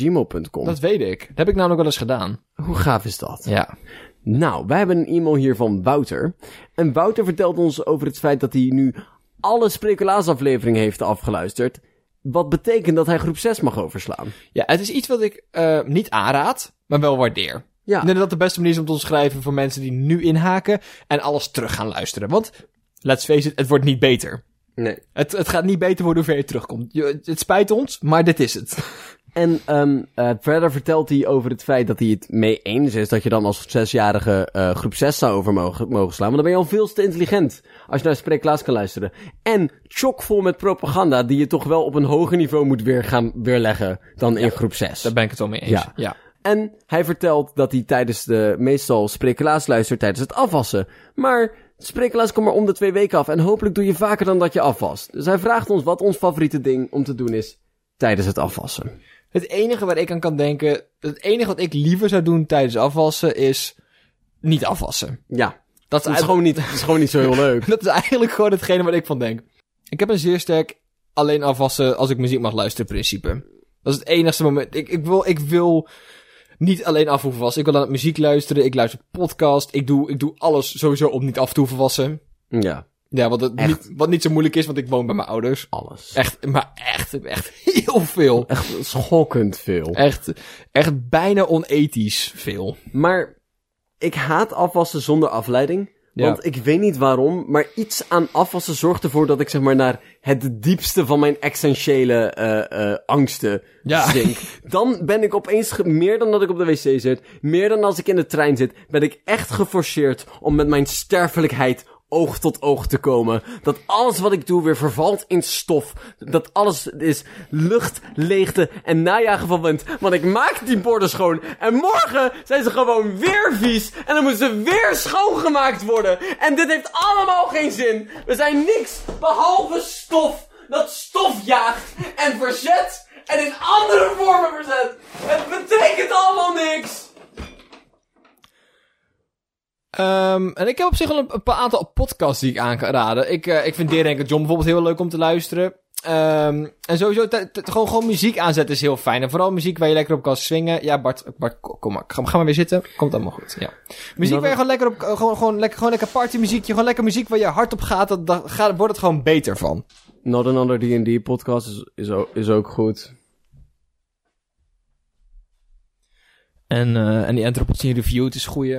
A: sprekelaars.gmail.com?
B: Dat weet ik. Dat heb ik namelijk wel eens gedaan.
A: Hoe gaaf is dat?
B: Ja.
A: Nou, wij hebben een e-mail hier van Wouter. En Wouter vertelt ons over het feit dat hij nu alle Sprekelaars-afleveringen heeft afgeluisterd. Wat betekent dat hij groep 6 mag overslaan.
B: Ja, het is iets wat ik eh, niet aanraad, maar wel waardeer.
A: Ja.
B: Ik denk dat dat de beste manier is om te omschrijven voor mensen die nu inhaken en alles terug gaan luisteren. Want, let's face it, het wordt niet beter.
A: Nee.
B: Het, het gaat niet beter worden hoe ver je terugkomt. Je- het spijt ons, maar dit is het.
A: En ehm, eh, verder vertelt hij over het feit dat hij het mee eens is dat je dan als zesjarige eh, groep 6 zou over mogen, mogen slaan. Want dan ben je al veel te intelligent als je naar spreeklaas kan luisteren. En chockvol met propaganda die je toch wel op een hoger niveau moet weer gaan weerleggen dan in groep 6.
B: Daar ben ik het al mee eens.
A: Ja. En hij vertelt dat hij tijdens de meestal sprekelaars luistert tijdens het afwassen. Maar sprekelaars komt maar om de twee weken af en hopelijk doe je vaker dan dat je afwast. Dus hij vraagt ons wat ons favoriete ding om te doen is tijdens het afwassen.
B: Het enige waar ik aan kan denken, het enige wat ik liever zou doen tijdens afwassen is niet afwassen.
A: Ja,
B: Dat is,
A: dat is
B: eigenlijk, *laughs*
A: gewoon niet, dat is gewoon niet zo heel leuk.
B: dat is eigenlijk gewoon hetgene waar ik van denk. Ik heb een zeer sterk alleen afwassen als ik muziek mag luisteren principe. Dat is het enigste moment. Ik, ik, wil, ik wil niet alleen af hoeven wassen. Ik wil aan muziek luisteren. Ik luister podcast. Ik doe, ik doe alles sowieso om niet af te hoeven wassen.
A: Ja,
B: Ja, wat, het niet, wat niet zo moeilijk is, want ik woon bij mijn ouders.
A: alles.
B: Echt, maar echt, echt heel veel.
A: Echt schokkend veel.
B: Echt, echt bijna onethisch veel.
A: Maar ik haat afwassen zonder afleiding.
B: Ja.
A: Want ik weet niet waarom, maar iets aan afwassen zorgt ervoor dat ik zeg maar naar het diepste van mijn essentiële eh, eh, angsten
B: Ja.
A: zink. Dus Dan ben ik opeens, ge- meer dan dat ik op de wc zit, meer dan als ik in de trein zit, ben ik echt geforceerd om met mijn sterfelijkheid oog tot oog te komen. Dat alles wat ik doe weer vervalt in stof. Dat alles is lucht, leegte en najagen van wind. Want ik maak die borden schoon en morgen zijn ze gewoon weer vies. En dan moeten ze weer schoongemaakt worden. En dit heeft allemaal geen zin. We zijn niks behalve stof. Dat stof jaagt en verzet en in andere vormen verzet. Het betekent allemaal niks.
B: Ehm, en ik heb op zich wel een, een paar aantal podcasts die ik aan kan raden. Ik, eh, ik vind Deer John bijvoorbeeld heel leuk om te luisteren. Ehm, en sowieso, t- t- gewoon, gewoon muziek aanzetten is heel fijn. En vooral muziek waar je lekker op kan swingen. Ja, Bart, Bart ko- kom maar. Ga, ga maar weer zitten. Komt allemaal goed. Ja. Muziek waar je gewoon lekker op... eh, Gewoon, gewoon, lekker, gewoon lekker partymuziekje. Gewoon lekker muziek waar je hard op gaat. Dat, dat, gaat- wordt het gewoon beter van.
A: Not Another D&D podcast is, is, ook, is ook goed.
B: En, eh, en die Anthropocene Reviewed is goeie.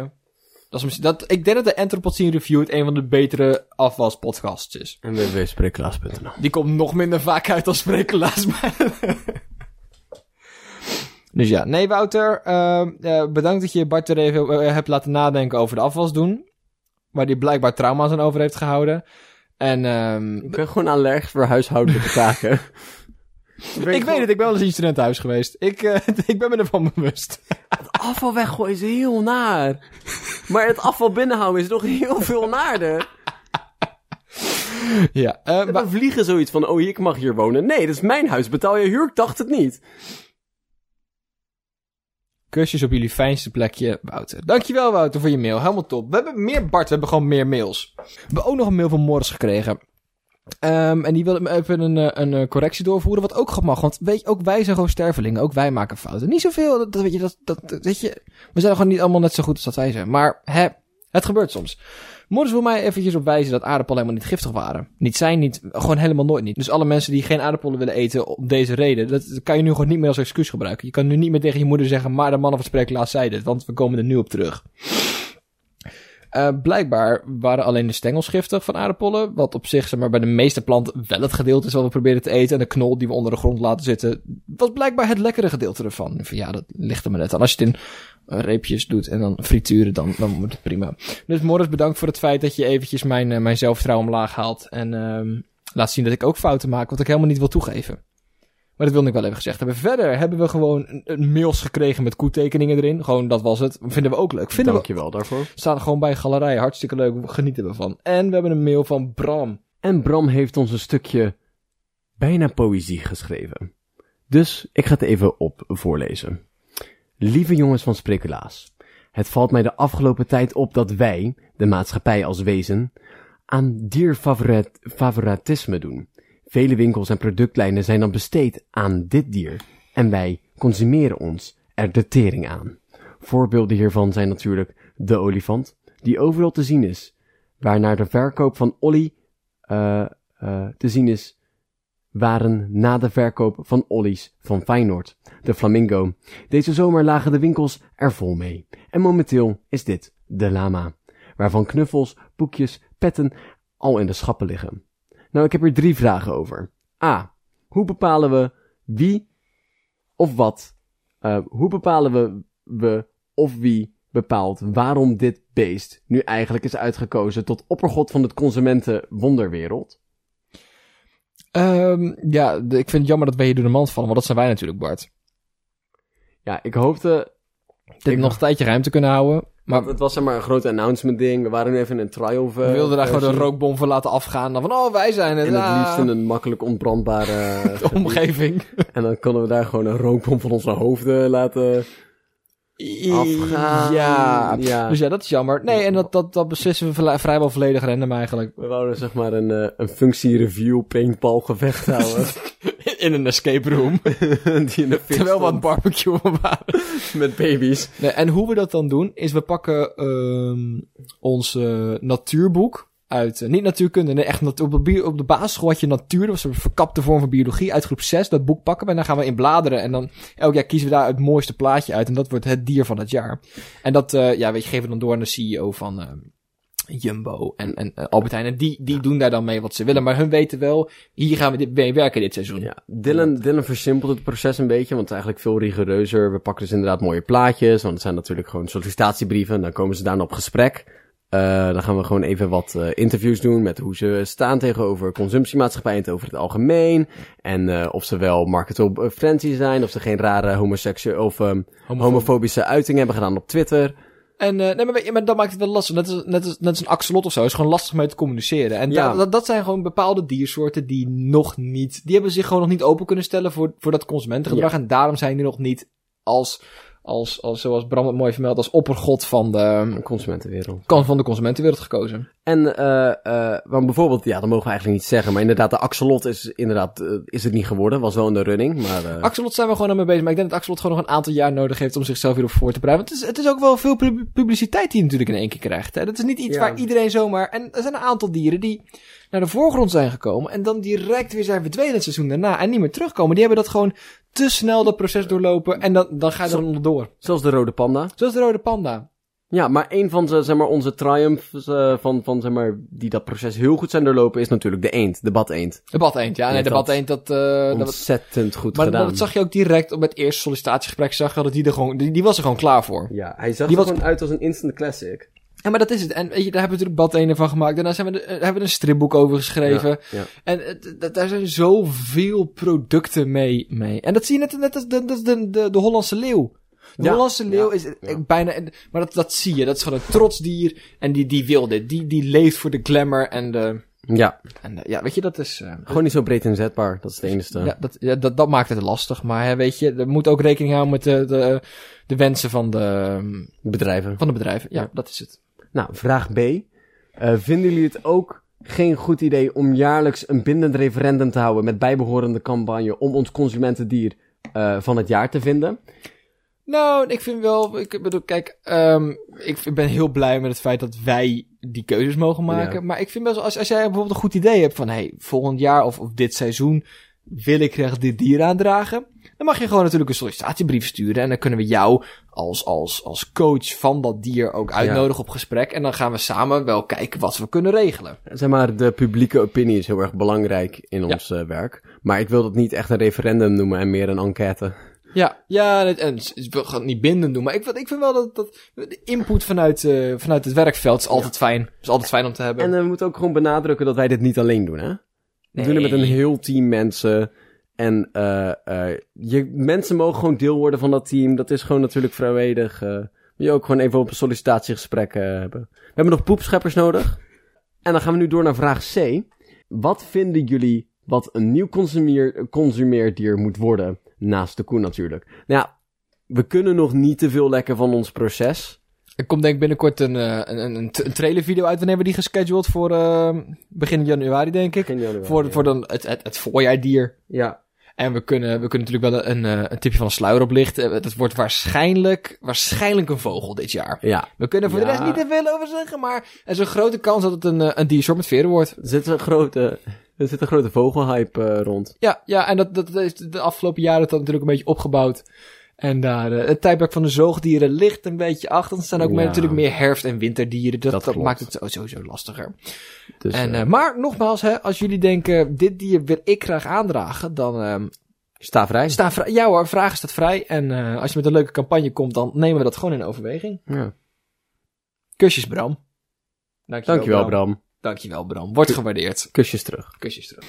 B: Dat is, misschien- dat, ik denk dat de Anthropocene Reviewed een van de betere afwaspodcasts is.
A: En www.spreeklaas.nl
B: Die komt nog minder vaak uit als sprekelaars. *laughs* maar- dus ja, nee Wouter, ehm, eh, bedankt dat je Bart er even eh, hebt laten nadenken over de afwas doen. Waar die blijkbaar trauma's aan over heeft gehouden. En ehm,
A: Ik ben gewoon allergisch voor huishoudelijke taken. ik
B: ik weet het, ik ben wel eens in een studentenhuis geweest. Ik, eh, *laughs* ik ben me ervan bewust.
A: *laughs* afval weggooien is heel naar. Maar het afval binnenhouden is nog heel veel naarder.
B: ja, eh, wa-
A: We vliegen zoiets van, oh ik mag hier wonen. Nee, dat is mijn huis, betaal je huur? Ik dacht het niet.
B: kusjes op jullie fijnste plekje, Wouter. Dankjewel Wouter voor je mail, helemaal top. We hebben meer Bart, we hebben gewoon meer mails. We hebben ook nog een mail van Morris gekregen. Ehm, en die wil even een, eh, een eh, correctie doorvoeren, wat ook mag. Want weet je, ook wij zijn gewoon stervelingen, ook wij maken fouten. Niet zoveel, dat, dat weet je, dat, dat, dat- weet je, we zijn gewoon niet allemaal net zo goed als dat wij zijn. Maar hè, het gebeurt soms. Morris wil dus mij eventjes op wijzen dat aardappelen helemaal niet giftig waren. Niet zijn, niet, gewoon helemaal nooit niet. Dus alle mensen die geen aardappelen willen eten om deze reden, dat kan je nu gewoon niet meer als excuus gebruiken. Je kan nu niet meer tegen je moeder zeggen, maar de man of het spreeklaas zei dit, want we komen er nu op terug. Eh, blijkbaar waren alleen de stengels giftig van aardappelen. Wat op zich zeg maar, bij de meeste planten wel het gedeelte is wat we proberen te eten. En de knol die we onder de grond laten zitten. was blijkbaar het lekkere gedeelte ervan. Van, ja, dat ligt er maar net aan. Als je het in eh, reepjes doet en dan frituren, dan, dan wordt het prima. Dus Morris, bedankt voor het feit dat je eventjes mijn, eh, mijn zelfvertrouwen omlaag haalt. En ehm, laat zien dat ik ook fouten maak, wat ik helemaal niet wil toegeven. Maar dat wilde ik wel even gezegd hebben. Verder hebben we gewoon een, een mails gekregen met koetekeningen erin. Gewoon, dat was het. Vinden we ook leuk. Vinden we
A: Dankjewel daarvoor.
B: Staan gewoon bij galerij. Hartstikke leuk. We Genieten we van. En we hebben een mail van Bram.
A: En Bram heeft ons een stukje bijna poëzie geschreven. Dus ik ga het even op voorlezen. Lieve jongens van Spreculaas, het valt mij de afgelopen tijd op dat wij, de maatschappij als wezen, aan dierfavorit- favoritisme doen. Vele winkels en productlijnen zijn dan besteed aan dit dier en wij consumeren ons er de tering aan. Voorbeelden hiervan zijn natuurlijk de olifant, die overal te zien is, waarnaar de verkoop van Olly eh, eh, te zien is, waren na de verkoop van Ollies van Feyenoord, de Flamingo. Deze zomer lagen de winkels er vol mee. En momenteel is dit de Lama, waarvan knuffels, boekjes, petten al in de schappen liggen. Nou, ik heb er drie vragen over. A. Hoe bepalen we wie of wat? eh, hoe bepalen we, we of wie bepaalt waarom dit beest nu eigenlijk is uitgekozen tot oppergod van het consumentenwonderwereld?
B: Ehm, ja, de- ik vind het jammer dat wij hier door de mand vallen. Want dat zijn wij natuurlijk, Bart.
A: Ja, ik hoopte
B: Dit
A: Ik-
B: nog een tijdje ruimte kunnen houden. Maar
A: Maar het was zeg maar een groot announcement ding. We waren nu even in een trial. eh,
B: we wilden daar gewoon een rookbom van laten afgaan. Dan van, oh, wij zijn het.
A: En het
B: ah.
A: liefst in een makkelijk ontbrandbare eh,
B: *laughs* De
A: *laughs*
B: omgeving.
A: En dan konden we daar gewoon een rookbom van onze hoofden laten afgaan.
B: Ja.
A: Ja.
B: Dus ja, dat is jammer. Nee, en dat, dat, dat beslissen we vla- vrijwel volledig random eigenlijk.
A: We wouden zeg maar een, eh, een functie-review paintball gevecht
B: *laughs*
A: houden.
B: *laughs* In een escape room.
A: die in de fik
B: *laughs* Terwijl we aan
A: stond
B: het barbecue waren.
A: met baby's.
B: Nee, en hoe we dat dan doen, is we pakken ehm, ons eh, natuurboek uit, eh, niet natuurkunde, nee, echt nat- op, de bi- op de basisschool had je natuur, dat was een verkapte vorm van biologie, uit groep 6, dat boek pakken we en dan gaan we in bladeren en dan elk jaar kiezen we daar het mooiste plaatje uit en dat wordt het dier van het jaar. En dat, eh, ja, weet je, geven we dan door aan de CEO van... ehm, Jumbo en, en eh, Albert Heijn. En die, die doen daar dan mee wat ze willen. Maar hun weten wel, hier gaan we dit, mee werken dit seizoen.
A: Ja, Dylan, Dylan versimpelt het proces een beetje, want het is eigenlijk veel rigoureuzer. We pakken dus inderdaad mooie plaatjes, want het zijn natuurlijk gewoon sollicitatiebrieven. Dan komen ze daarna op gesprek. Eh, dan gaan we gewoon even wat eh, interviews doen met hoe ze staan tegenover consumptiemaatschappij en het over het algemeen. En eh, of ze wel marketable friendly zijn, of ze geen rare homoseksuele of ehm, homofobische uitingen hebben gedaan op Twitter.
B: En eh, nee, maar, weet je, maar dat maakt het wel lastig. Net als, net, als, net als een axolot of zo. is gewoon lastig mee te communiceren. En
A: Ja.
B: da- dat, dat zijn gewoon bepaalde diersoorten die nog niet... Die hebben zich gewoon nog niet open kunnen stellen voor, voor dat consumentengedrag. En daarom zijn die nog niet als, als, als... Zoals Bram het mooi vermeldt, als oppergod van de,
A: Consumentenwereld.
B: kan van de consumentenwereld gekozen.
A: En eh eh want bijvoorbeeld, ja, dat mogen we eigenlijk niet zeggen, maar inderdaad, de axolot is inderdaad, eh, is het niet geworden. Was wel in de running, maar... eh,
B: Axolot zijn we gewoon aan mee bezig. Maar ik denk dat Axolot gewoon nog een aantal jaar nodig heeft om zichzelf hierop voor te bereiden. Want het is, het is ook wel veel pub- publiciteit die je natuurlijk in één keer krijgt. Hè? Dat is niet iets
A: Ja.
B: waar iedereen zomaar... En er zijn een aantal dieren die naar de voorgrond zijn gekomen... en dan direct weer zijn verdwenen het seizoen daarna... en niet meer terugkomen. Die hebben dat gewoon te snel dat proces doorlopen... en dan, dan ga je er onderdoor.
A: Zelfs de rode panda.
B: Zoals de rode panda.
A: Ja, maar een van ze, zeg maar, onze triumphs eh, van, van, zeg maar, die dat proces heel goed zijn doorlopen, is natuurlijk de eend, de badeend.
B: De bad-eend, ja. Nee,
A: Ja,
B: de
A: dat-
B: bad-eend, dat... eh, dat was-
A: Ontzettend goed
B: maar
A: gedaan.
B: dat zag je ook direct op het eerste sollicitatiegesprek... zag je dat die er gewoon... Die, die was er gewoon klaar voor.
A: Ja, hij zag
B: Die
A: er
B: was-
A: gewoon uit als een instant classic.
B: Ja, maar dat is het. En weet je, daar hebben we natuurlijk bad-ene van gemaakt. Daarna zijn we, de- eh, hebben we er een stripboek over geschreven.
A: Ja, ja.
B: En het- d- daar zijn zoveel producten mee. mee. En dat zie je net, net als de, de, de, de, de Hollandse leeuw. De
A: Ja,
B: Hollandse leeuw
A: ja,
B: is eh,
A: ja.
B: bijna... een- Maar dat, dat zie je. Dat is gewoon een trots dier. En die, die wil dit. Die, die leeft voor de glamour en de...
A: Ja,
B: En de- ja, weet je, dat is... eh,
A: gewoon niet zo breed inzetbaar, dat is het enige.
B: ja, dat, ja, dat, dat maakt het lastig. Maar hè, weet je, er moet ook rekening houden met de, de, de wensen van de,
A: Bedrijven.
B: van de bedrijven. ja,
A: Ja.
B: dat is het.
A: Nou, vraag B. Eh, vinden jullie het ook geen goed idee om jaarlijks een bindend referendum te houden met bijbehorende campagne om ons consumentendier eh, van het jaar te vinden?
B: Nou, ik vind wel, ik bedoel, kijk, ehm, ik v- ben heel blij met het feit dat wij die keuzes mogen maken.
A: Ja.
B: Maar ik vind best wel, als, als jij bijvoorbeeld een goed idee hebt van, hey, volgend jaar of, of dit seizoen wil ik graag dit dier aandragen. Dan mag je gewoon natuurlijk een sollicitatiebrief sturen. En dan kunnen we jou als, als, als coach van dat dier ook uitnodigen op gesprek. En dan gaan we samen wel kijken wat we kunnen regelen.
A: Zeg maar, de publieke opinie is heel erg belangrijk in ons eh, werk. Maar ik wil dat niet echt een referendum noemen en meer een enquête.
B: Ja, ja en, en s- s- we gaan het niet bindend doen. Maar ik, vind- ik vind wel dat, dat de input vanuit, eh, vanuit het werkveld is altijd fijn. Is altijd fijn om te hebben.
A: En eh, we moeten ook gewoon benadrukken dat wij dit niet alleen doen, hè? We doen het met een heel team mensen. En eh, eh, je, mensen mogen gewoon deel worden van dat team. Dat is gewoon natuurlijk vrijwillig. eh. Moet je ook gewoon even op een sollicitatiegesprek eh, hebben. We hebben nog poepscheppers nodig. En dan gaan we nu door naar vraag C. Wat vinden jullie wat een nieuw consumeer, consumeerdier moet worden? Naast de koe natuurlijk. Nou ja, we kunnen nog niet te veel lekken van ons proces.
B: Er komt denk ik binnenkort een, eh, een, een, een t- een trailervideo uit. Wanneer hebben we die gescheduled? Voor eh, begin januari, denk ik.
A: Begin januari,
B: voor
A: ja.
B: voor dan het, het, het voorjaardier.
A: Ja.
B: En we kunnen, we kunnen natuurlijk wel een, eh, een tipje van de sluier oplichten. Eh, Dat wordt waarschijnlijk, waarschijnlijk een vogel dit jaar.
A: Ja.
B: We kunnen voor de
A: Ja.
B: rest niet te veel over zeggen, maar er is een grote kans dat het een, eh, een diersoort met veren wordt.
A: Er zit een grote, er zit een grote vogelhype eh, rond.
B: Ja, ja en dat, dat is de afgelopen jaren dat natuurlijk een beetje opgebouwd. En daar, eh, het tijdperk van de zoogdieren ligt een beetje achter. Er staan ook meer-
A: Ja.
B: natuurlijk meer herfst- en winterdieren. Dat,
A: Dat
B: dat
A: klopt.
B: maakt het zo- sowieso lastiger.
A: Dus,
B: en,
A: eh,
B: eh, maar nogmaals, hè, als jullie denken, dit dier wil ik graag aandragen, dan ehm
A: sta vrij.
B: staan vrij. Ja hoor, vragen staat vrij. En eh, als je met een leuke campagne komt, dan nemen we dat gewoon in overweging.
A: Ja.
B: Kusjes, Bram. Dankjewel,
A: Dankjewel, Bram.
B: Dankjewel, Bram. Wordt gewaardeerd.
A: Kusjes terug.
B: Kusjes terug.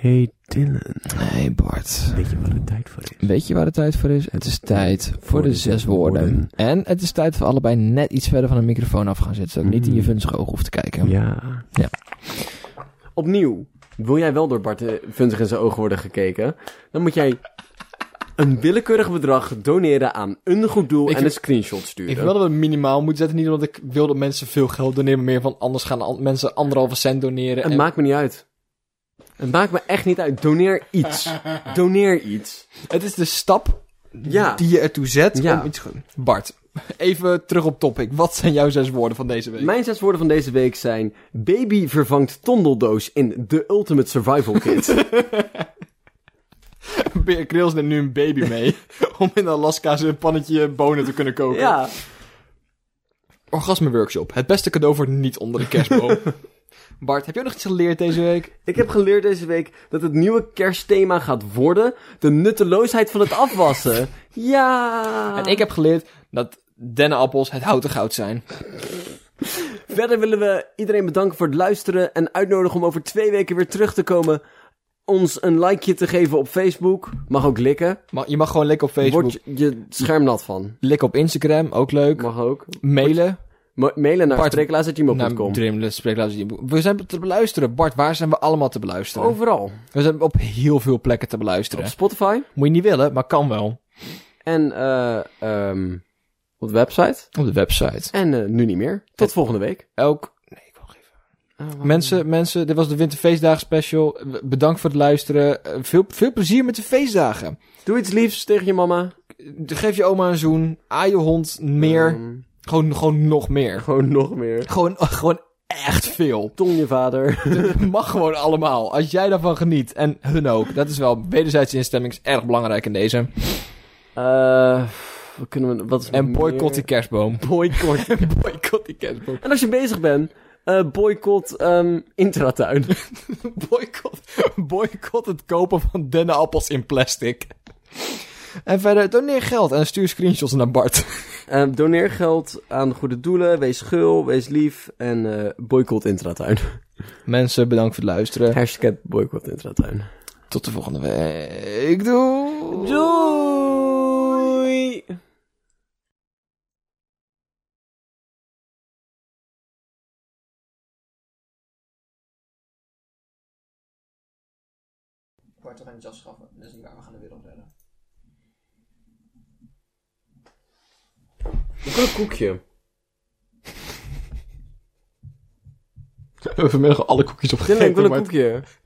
A: Hey Dylan,
B: Hey Bart.
A: weet je wat de tijd voor is?
B: Weet je waar de tijd voor is? Het is tijd voor de zes woorden. En het is tijd voor allebei net iets verder van de microfoon af gaan zitten. Zodat ik niet in je vunzige ogen hoef te kijken.
A: Mm. Ja.
B: Ja.
A: Opnieuw, wil jij wel door Bart eh, Vunzig in zijn ogen worden gekeken? Dan moet jij een willekeurig bedrag doneren aan een goed doel
B: Ik
A: en
B: wil-
A: een screenshot sturen.
B: Ik wil dat we minimaal moeten zetten. Niet omdat ik wil dat mensen veel geld doneren. Maar meer van anders gaan an- mensen anderhalve cent doneren.
A: Het maakt me niet uit. Het maakt me echt niet uit. Doneer iets.
B: *laughs*
A: Doneer iets.
B: Het is de stap
A: Ja.
B: die je ertoe zet
A: Ja.
B: om iets goed. Bart, even terug op topic. Wat zijn jouw zes woorden van deze week?
A: Mijn zes woorden van deze week zijn... Baby vervangt tondeldoos in The Ultimate Survival Kit.
B: *laughs* *laughs* Beer Grylls neemt nu een baby
A: *laughs*
B: mee. om in Alaska zijn pannetje bonen te kunnen koken.
A: ja.
B: Orgasme workshop. Het beste cadeau voor niet onder de *laughs* kerstboom. Bart, heb jij nog iets geleerd deze week?
A: Ik heb geleerd deze week dat het nieuwe kerstthema gaat worden de nutteloosheid van het
B: *laughs*
A: afwassen. Ja!
B: En ik heb geleerd dat dennenappels het houten goud zijn.
A: Verder willen we iedereen bedanken voor het luisteren en uitnodigen om over twee weken weer terug te komen. Ons een likeje te geven op Facebook. Mag ook likken.
B: Ma- Je mag gewoon likken op Facebook.
A: Word je, je scherm nat van.
B: Likken op Instagram, ook leuk.
A: Mag ook.
B: Mailen.
A: Ma- mailen naar
B: Bart-
A: streeklaas.gmail.com.
B: Nou, Dremelen, Spreeklaas. We zijn te beluisteren. Bart, waar zijn we allemaal te beluisteren?
A: Overal.
B: We zijn op heel veel plekken te
A: Op
B: beluisteren.
A: Spotify.
B: Moet je niet willen, maar kan wel.
A: En eh ehm, op de website.
B: Op de website.
A: En eh, nu niet meer. Tot volgende week.
B: Elk... Nee, ik wil geen Mensen, mensen, dit was de Winterfeestdagen special. Bedankt voor het luisteren. Eh, Veel, veel plezier met de feestdagen.
A: Doe iets liefs tegen je mama.
B: Geef je oma een zoen. Aai je hond meer.
A: Ehm,
B: Gewoon, gewoon nog meer.
A: Gewoon nog meer.
B: Gewoon, gewoon echt
A: *laughs*
B: veel.
A: Tong je vader.
B: Het mag gewoon allemaal. Als jij daarvan geniet. En hun ook. Dat is wel wederzijdse instemming. Is erg belangrijk in deze.
A: Eh wat kunnen we... Wat is nog
B: En boycott die
A: meer?
B: kerstboom. *laughs*
A: Boycott.
B: boycott die kerstboom.
A: *laughs* en als je bezig bent, eh, boycott ehm *laughs* Intratuin.
B: Boycott, boycott het kopen van dennenappels in plastic. En verder, doneer geld en stuur screenshots naar Bart.
A: Eh, doneer geld aan goede doelen. Wees gul, wees lief. En eh, boycott Intratuin. *laughs*
B: Mensen, bedankt voor het luisteren.
A: Hashtag boycott Intratuin.
B: Tot de volgende week. Doei.
A: Doei!
B: Bart, we gaan iets afschaffen. Dat is niet waar, we gaan de wereld redden.
A: Ik wil een koekje.
B: We hebben vanmiddag alle koekjes
A: Dylan, ik wil
B: opgegeten,
A: een koekje.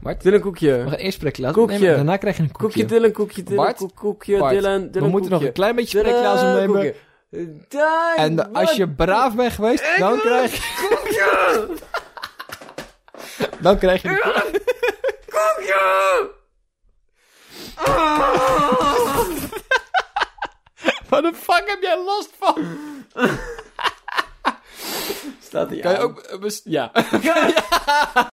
B: Bart?
A: Dylan,
B: We
A: koekje.
B: gaan eerst spreken.
A: Koekje.
B: Koekje. Daarna krijg je een koekje.
A: Koekje, Dylan, koekje, Dylan,
B: Bart?
A: koek- koekje,
B: Bart,
A: Dylan,
B: we
A: Dylan,
B: moeten nog
A: koekje.
B: een klein beetje spreeklaas
A: Dylan,
B: opnemen.
A: koekje. Dylan,
B: En als je braaf bent geweest, dan krijg je...
A: koekje!
B: *laughs* Dan krijg je... de-
A: Kokje!
B: Waar de fuck heb jij last van?
A: Staat hij
B: Kan je
A: aan?
B: ook... eh, bes- Ja.